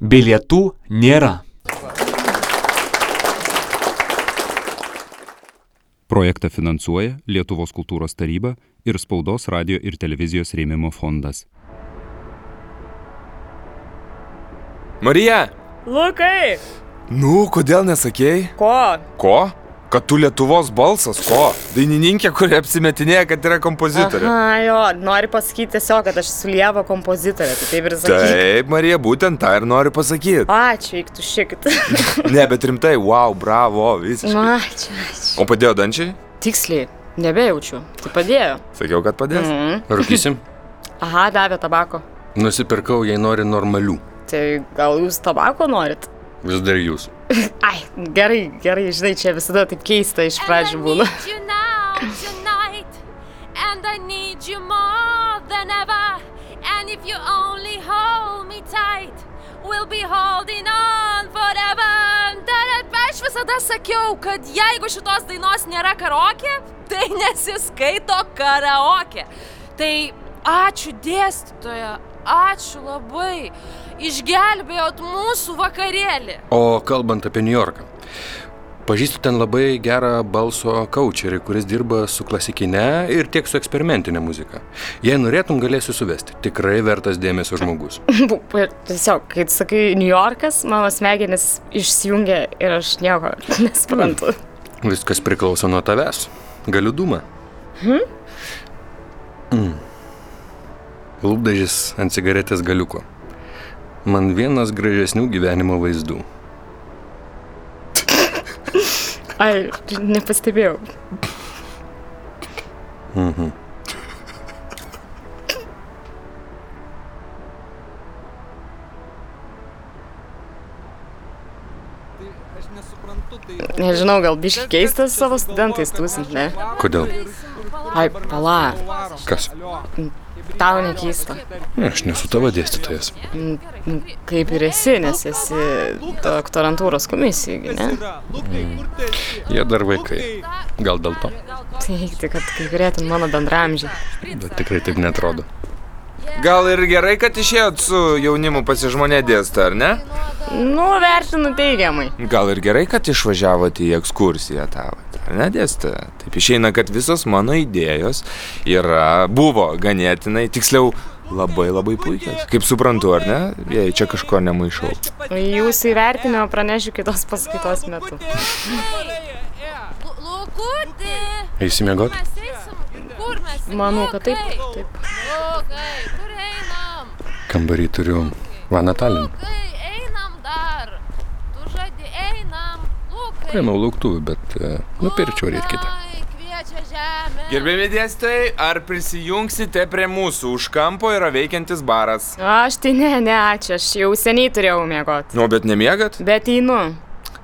Bilietų nėra. Projektą finansuoja Lietuvos kultūros taryba ir Spaudos radio ir televizijos rėmimo fondas. Marija, Lukai, nu kodėl nesakėjai? ko? Ko? Kad tu Lietuvos balsas, ko? Dainininkė, kuri apsimetinėja, kad yra kompozitorė. Aha, jo, nori pasakyti tiesiog, kad aš esu Lieva kompozitorė, tai taip ir sakyk. Taip, Marija, būtent tą ir noriu pasakyti. Ačiū, eik tu šikit. Ne, bet rimtai, wow, bravo, Na, visiškai. ačiū, ačiū. O padėjo dančiai? Tiksliai, nebejaučiu. Tai padėjo. Sakiau, kad padės. Mhm. Rūkysim? Aha, davė tabako. Nusipirkau, jei nori normalių. Tai gal jūs tabako norit? Vis dar jūs. Ai, gerai, gerai, žinai, čia visada taip keista iš pradžių būna. And I need you now, tonight. And I need you more than ever. And if you only hold me tight, we'll be holding on forever. Dar aš visada sakiau, kad jeigu šitos dainos nėra karaoke, tai nesiskaito karaoke. Tai ačiū dėstytoja, ačiū labai. Išgelbėjot mūsų vakarėlį. O kalbant apie New Yorką. Pažįstu ten labai gerą balso kočerį, kuris dirba su klasikine ir tiek su eksperimentinė muzika. Jei norėtum, galėsiu suvesti. Tikrai vertas dėmesio žmogus. Bu- pa- Tiesiog, kai tu sakai New Yorkas, mano smegenis išsijungia ir aš nieko nesuprantu. Viskas priklauso nuo tavęs. Galiu dūmą. Mm. Lūpdažis ant cigaretės galiuko. Man vienas gražesnių gyvenimo vaizdų. Ai, nepastebėjau. Nežinau, gal biškai keistas savo studentais tūsint, ne? Kodėl? Ai, pala, Kas? tau nekeista. Aš nesu tavo dėstytojas. Mm, mm, Kaip ir esi, nes esi doktorantūros komisijai, ne? Jie dar vaikai. Gal dėl to. Teikti, kad kai kurie ten mano bendramžiai. Bet tikrai taip netrodo. Gal ir gerai, kad išėjot su jaunimu pasižmonė dėstą, ar ne? Nu, vertinu teigiamai. Gal ir gerai, kad išvažiavote į ekskursiją tą, vat, ar ne dėstą? Taip išeina, kad visos mano idėjos yra, buvo ganėtinai, tiksliau, labai labai puikios. Kaip suprantu, ar ne? Jei čia kažko nemaišau. Jūsų Tai įvertinimą pranešiu kitos paskaitos metu. Lukutį! Įsimiegot? Mes eisim? Kur mes eisim? Manau, kad taip. Lukai! taip. Lukai, kur einam? Kambarį turiu Vanatalin. Lukai, einam dar. Tu žadi, einam. Lukai. Paėmiau lauktuvį, bet e, nupirčiau ir kitą. Lukai, kviečia žemė. Gerbėmi dėstytojai, ar prisijungsite prie mūsų? Už kampo yra veikiantis baras. Aš tai ne, ne, ačiū, aš jau seniai turėjau miegoti. Nu, bet nemiegat? Bet einu.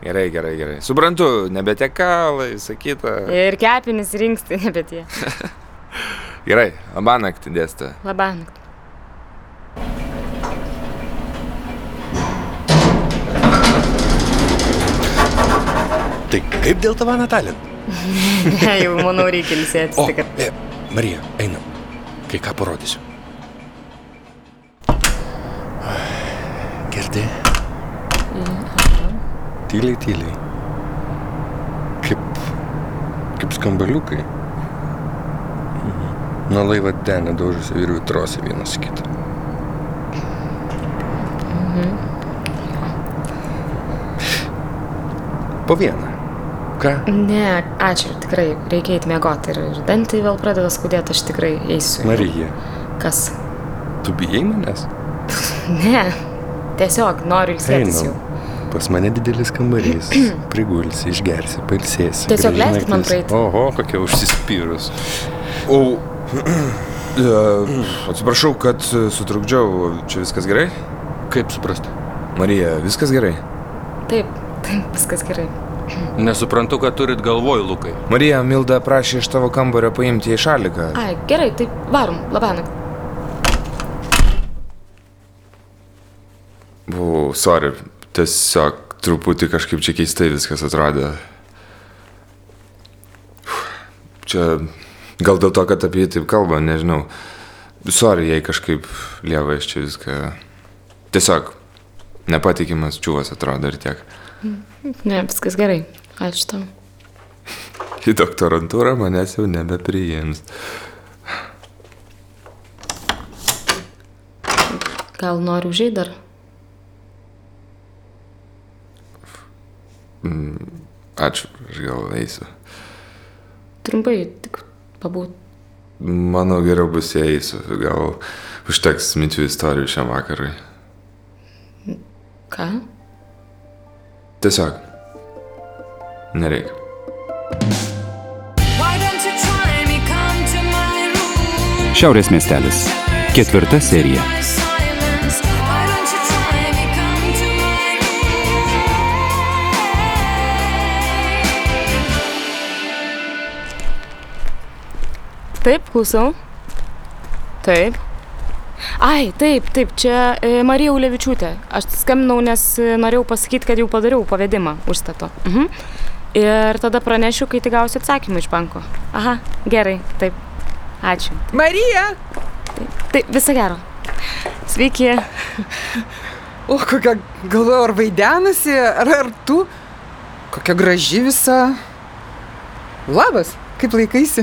Gerai, gerai, gerai. Suprantu, nebetekalai, sakyta. Ir kepinis rinksti, nebet jie. Gerai, abanakti dėstą. Labank. Tai kaip dėl tavo Vanatalin? Ne, jau manau reikia ilsėtis. O, tik- e, Marija, einam. Kai ką parodysiu. Girdi? Tyliai, tyliai. Kaip, kaip skambaliukai. Nuo laivo denė daužosi ir vitrosi vienas į kitą. Po vieną. Ką? Ne, ačiū, tikrai reikia eiti miegoti. Ir, ir dantai vėl pradeda skaudėti, aš tikrai eisiu. Marija, Kas? tu bijai manęs? Ne, tiesiog noriu ilsėtis jau. Einam. Pas mane didelis kambarys. Prigulsi, išgersi, palsėsi. Tiesiog leiskit man praeit. Oho, kokia užsispyrus. O. e, Atsiprašau, kad e, sutrukdžiau. Čia viskas gerai? Kaip suprasti? Marija, viskas gerai. Taip, taip, viskas gerai. Nesuprantu, ką turit galvoj, Lukai. Marija, Milda prašė iš tavo kambario paimti į šaliką. Ai, gerai, tai varom, labank. Buvau, sorry, tiesiog truputį kažkaip čia keistai viskas atrodė. Čia gal dėl to, kad apie jį taip kalba, nežinau. Sorry, jei kažkaip lieva iš čia viską. Tiesiog Nepatikimas čiūvas atrodo ir tiek. Ne, viskas gerai. Ačiū tau. Į doktorantūrą manęs jau nebepriims. Gal nori užėjai dar? Ačiū, aš gal eisiu. Trumpai, tik pabūt. Mano geriau bus jei eisiu, gal užteks minčių istorijų šiam vakarui. Ką? Tiesiog. Nereikia. Why don't you try me? Come to my room. Šiaurės miestelis. Ketvirta serija. My silence. Why don't you try me? Come to my room. Taip, klausau. Taip. Ai, taip, taip, čia e, Marija Ulevičiūtė. Aš skambinau, nes e, norėjau pasakyti, kad jau padariau pavedimą užstato. Mhm. Ir tada pranešiu, kai tik gausiu atsakymą iš banko. Aha, gerai, taip. Ačiū. Marija! Tai visą gero. Sveiki. O, kokia galvoju, ar vaidenasi, ar, ar tu? Kokia graži visa. Labas, kaip laikaisi?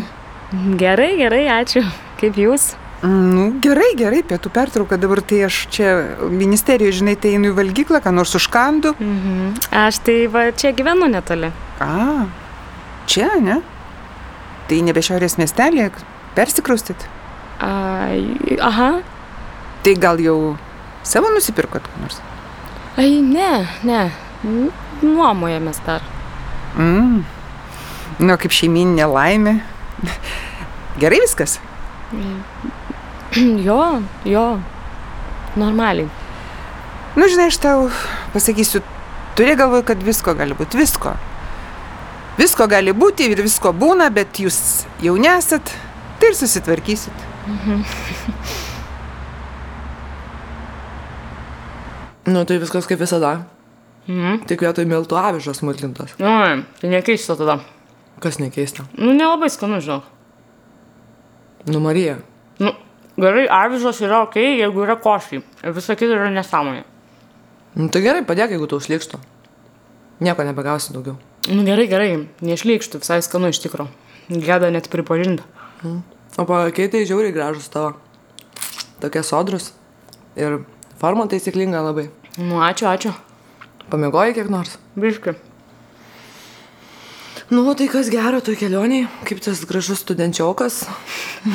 Gerai, gerai, ačiū. Kaip jūs? Nu, gerai, gerai, pietų pertrauka, dabar tai aš čia ministerijoje, žinai, tai einu į valgyklą, ką nors užkandu. Mhm. Aš tai va čia gyvenu netoli. A, čia, ne? Tai nebe šiaurės miestelėje, persikraustit. Ai, aha. Tai gal jau savo nusipirkot, ką nors? Ai, ne, ne. N- Nuomojamės dar. Mm. Nu, kaip šeimininė laimė. Gerai viskas. Jo, jo. Normaliai. Nu, žinai, aš tau pasakysiu, turi galvoju, kad visko gali būti, visko. Visko gali būti ir visko būna, bet jūs jau nesat, tai ir susitvarkysit. Nu, tai viskas kaip visada. Mhm. Tik vietoj miltų avižas smulkintas. Nu, tai nekeista tada. Kas nekeista. Nu, nelabai skanu, žinau. Nu, Marija. Nu, gerai, avižos yra ok, jeigu yra košiai. Visa kita yra nesąmonė. Nu, tai gerai, padėk, jeigu tau užlikštų. Nieko nebegausi daugiau. Nu, gerai, gerai, neišlykštų, visai skanu iš tikro. Gėda net pripažinti. O pakeitai žiauriai gražus tavo. Tokie sodrus. Ir forma taisyklinga labai. Nu, ačiū, ačiū. Pamiegoji kiek nors. Biški. Nu, tai kas gero toj kelioniai, kaip tas gražus studenčiokas.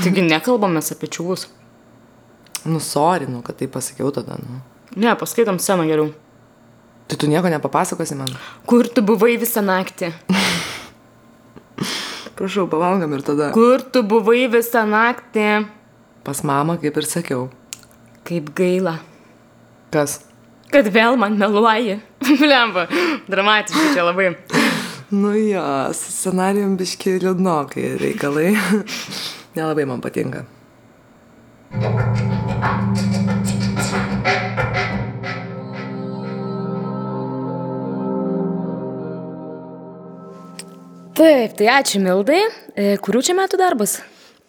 Taigi nekalbamės apie čiūvus. Nu, sorinu, kad tai pasakiau tada. Nu. Ne, paskaitom sceną geriau. Tai tu nieko nepapasakosi man. Kur tu buvai visą naktį? Prašau, pavalgom ir tada. Kur tu buvai visą naktį? Pas mamą, kaip ir sakiau. Kaip gaila. Kas? Kad vėl man meluoji. Lemba, dramatiškai čia labai. Nu jo, su scenarijum biški liūdnokai reikalai. Nelabai man patinka. Taip, tai ačiū Mildai. E, Kurių čia metų darbas?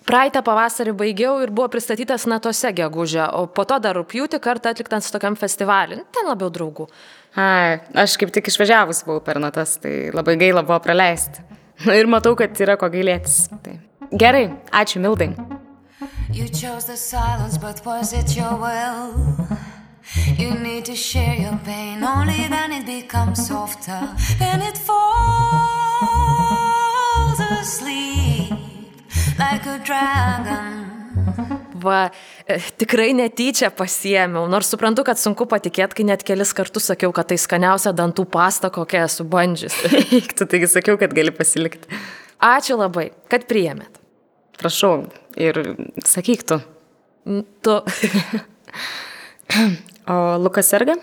Praeitą pavasarį baigiau ir buvo pristatytas natose gegužę, o po to dar rūpjūti kartą atliktas tokiam festivalį. Ten labiau draugų. Ai, aš kaip tik išvažiavus buvau per natas, tai labai gaila buvo praleisti. Na ir matau, kad yra ko gailėtis. Tai. Gerai, ačiū Mildai. You chose the silence, but was it your will? You need to share your pain, only then it becomes softer. Then it falls asleep like a dragon. Va, e, tikrai netyčia pasiemiau, nors suprantu, kad sunku patikėti, kai net kelis kartus sakiau, kad tai skaniausia dantų pasta, kokią esu bandžius. Eik, tu taigi sakiau, kad gali pasilikti. Ačiū labai, kad priėmėt. Prašau, ir sakyk tu. N- Tu. O Lukas serga?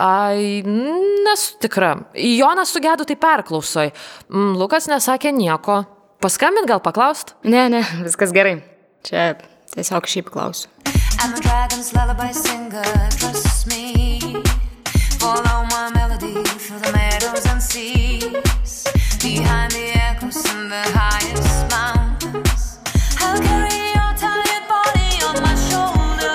Ai, nesu tikra. Jonas sugedu tai perklausoj. Mm, Lukas nesakė nieko. Paskambint gal paklaust? Ne, ne, viskas gerai. Čia tiesiog šiaip klausiu. I'm a dragon's lullaby singer, trust me. Follow my melody through the meadows and seas. Behind the echoes in the highest mountains. I'll carry your tired body on my shoulders.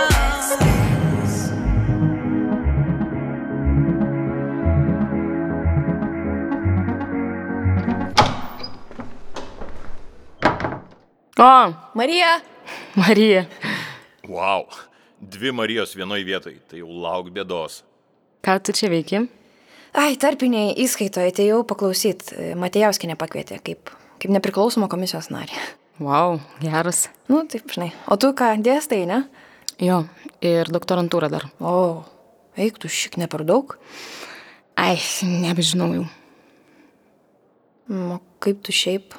A, Marija, Marija. Wow, dvi Marijos vienoje vietoje, tai jau lauk bėdos. Ką tu čia veiki? ai, tarpiniai įskaitoje atėjau paklausyt. Matėjauskinė pakvietė kaip, kaip nepriklausomo komisijos narį. Wow, geras. Nu, taip, žinai. O tu ką, dėstai, ne? Jo, ir doktorantūra dar. O, eik, tu šik ne per daug. Ai, nebežinau jau. Mm, O kaip tu šiaip?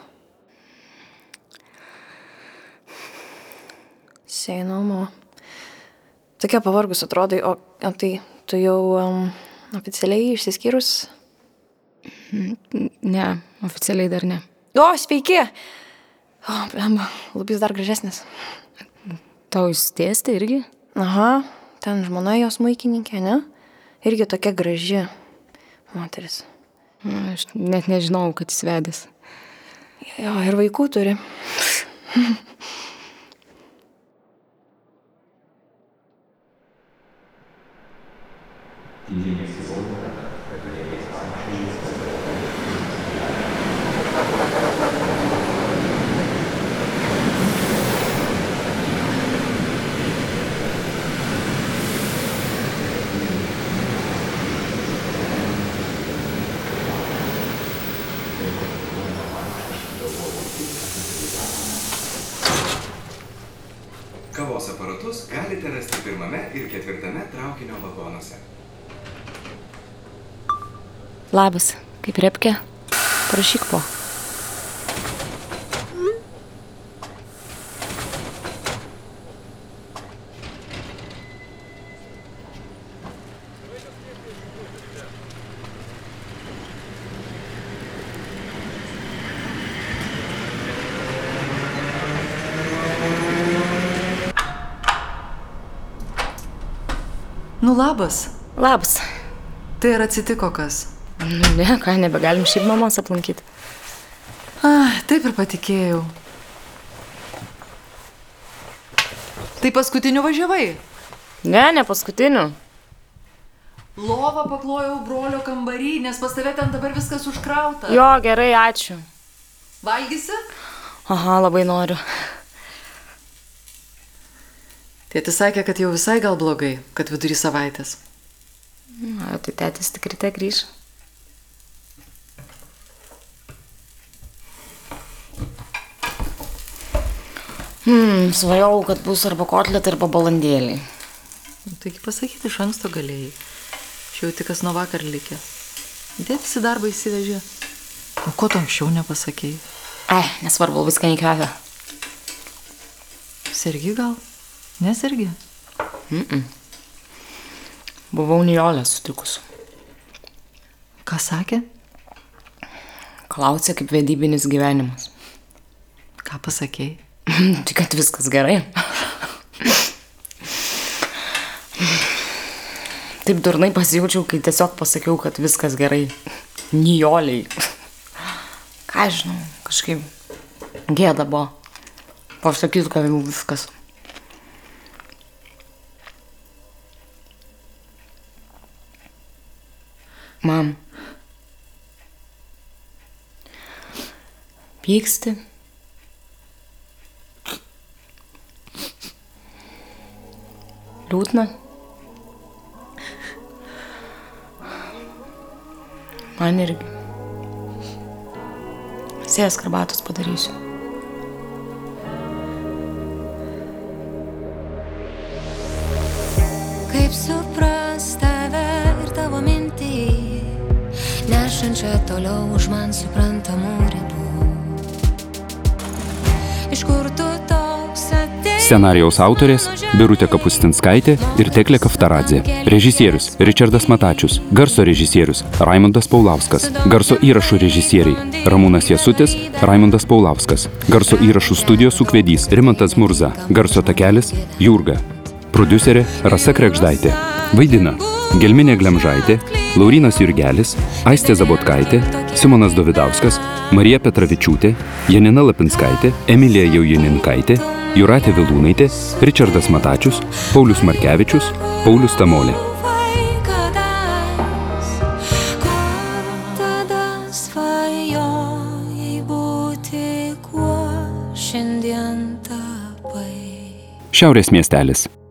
Seinomo. Tokia pavargus atrodo, o, o tai tu jau um, oficialiai išsiskyrus? Ne, oficialiai dar ne. O, sveiki! O, blemba, lubys dar gražesnis. Tau jūs dėstė irgi? Aha, ten žmona jos maikininkė, ne? Irgi tokia graži moteris. Aš net nežinau, kad jis vedęs. Jo, ir vaikų turi. Kavos aparatus galite rasti pirmame ir ketvirtame traukinio vagonuose. Labas, kaip repke? Parašyk po. Nu labas, Labas. tai ir atsitiko kas. Nu, ne, ką, nebegalim šiaip mamos aplankyti. Ah, taip ir patikėjau. Tai paskutiniu važiavai. Ne, ne paskutiniu. Lovą paklojau brolio kambarį, nes pas tave ten dabar viskas užkrauta. Jo, gerai, ačiū. Valgysi? Aha, labai noriu. Tėtis sakė, kad jau visai gal blogai, kad vidury savaitės. Na, tai tėtis tikrai te grįž. Hmm, svajau, kad bus arba kotletai, arba balandėliai. Nu, Taigi pasakyti iš anksto galėjai. Čia jau tik kas nuo vakar likė. Dėtis į darbą įsivežė. O ko tu anksčiau nepasakėjai? Ai, nesvarbu, viską neįkvėpia. Sergi gal? Nesergi? Buvau Nijolę sutikus. Ką sakė? Klausė, kaip vedybinis gyvenimas. Ką pasakėjai? Tik, kad viskas gerai. Taip durnai pasijaučiau, kai tiesiog pasakiau, kad viskas gerai. Nijoliai. Ką aš žinau, kažkaip gėda buvo. Pasakysiu, kad jau viskas. Mam. Pyksti. Liūdna. Man irgi. Sės karbatus padarysiu. Kaip supras tave ir tavo mintį, nešančią toliau už man suprantamų ribų. Iš kur tu toks atėjai? Scenarijaus autorės - Birutė Kapustinskaitė ir Teklė Kaftaradze. Režisierius - Richardas Matačius. Garso režisierius - Raimondas Paulauskas. Garso įrašų režisieriai - Ramūnas Jasutis, Raimondas Paulauskas. Garso įrašų studijos sukvedys - Rimantas Murza. Garso takelis - Jurga. Producerė - Rasa Krekždaitė. Vaidina - Gelminė Glemžaitė, Laurinas Jurgelis, Aistė Zabotkaitė, Simonas Dovydauskas, Marija Petravičiūtė, Janina Lapinskaitė, Emilija Jaujininkaitė, Juratė Vilūnaitė, Richardas Matačius, Paulius Markevičius, Paulius Tamolė. Vaikadas, kur tada svajojai būti, kuo šiandien Šiaurės miestelis.